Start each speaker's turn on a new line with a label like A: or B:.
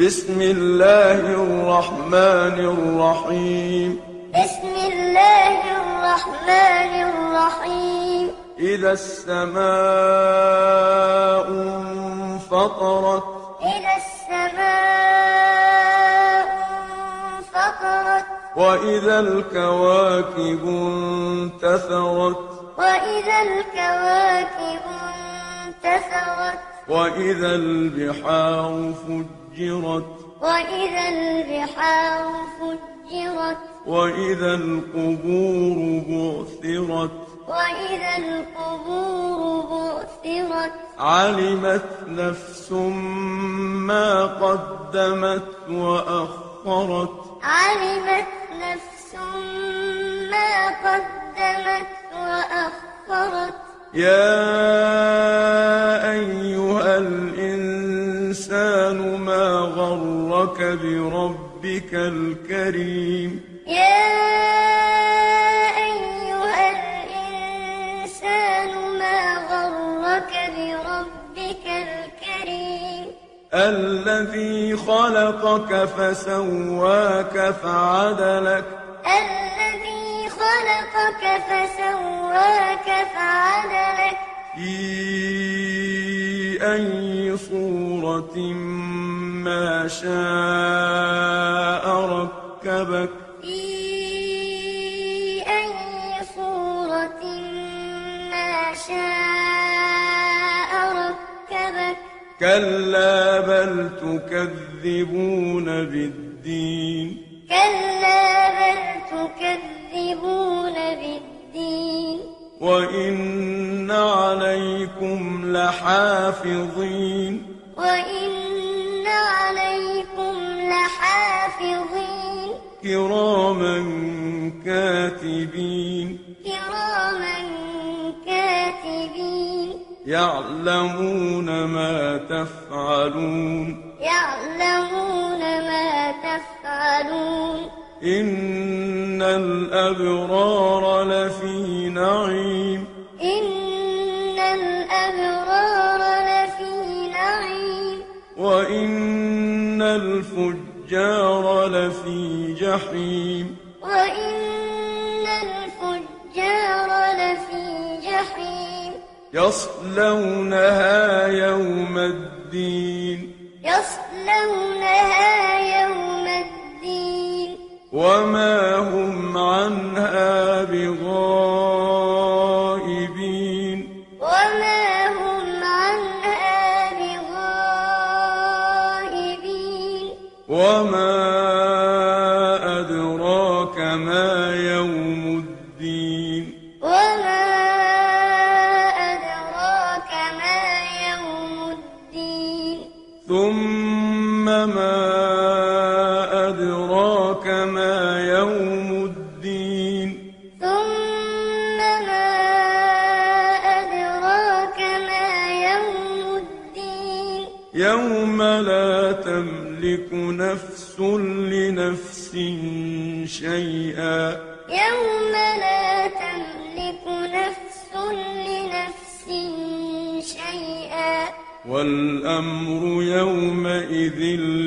A: بسم الله الرحمن الرحيم
B: بسم الله الرحمن الرحيم
A: إذا السماء انفطرت
B: إذا السماء انفطرت
A: وإذا الكواكب انتثرت
B: وإذا الكواكب انتثرت
A: وإذا البحار فجرت
B: وإذا البحار فجرت
A: وإذا القبور بعثرت
B: وإذا القبور بعثرت
A: علمت نفس ما قدمت وأخرت
B: علمت نفس ما قدمت وأخرت
A: يا أيها الإنسان ما غرك بربك الكريم
B: يا أيها الإنسان ما غرك بربك الكريم
A: الذي خلقك فسواك فعدلك
B: الذي خلقك فسواك فعدلك
A: في أي صورة ما شاء ركبك
B: في أي صورة ما شاء ركبك
A: كلا بل تكذبون بالدين
B: كلا بل تكذبون بالدين
A: وإن عليكم لحافظين
B: وإن عليكم لحافظين
A: كراما كاتبين
B: كراما كاتبين
A: يعلمون ما تفعلون
B: يعلمون ما تفعلون
A: إن الأبرار لفي نعيم
B: إن الأبرار لفي نعيم
A: وإن الفجار لفي جحيم
B: وإن الفجار لفي جحيم
A: يصلونها يوم الدين
B: يصلونها يوم الدين
A: وما هم عنها بغائبين
B: وما هم عنها بغائبين
A: وما أدراك ما يوم الدين
B: وما أدراك ما يوم الدين
A: ثم ما أدراك ما يوم الدين
B: ثم ما أدراك ما يوم الدين
A: يوم لا تملك نفس لنفس شيئا
B: يوم لا تملك نفس لنفس شيئا
A: والأمر يومئذ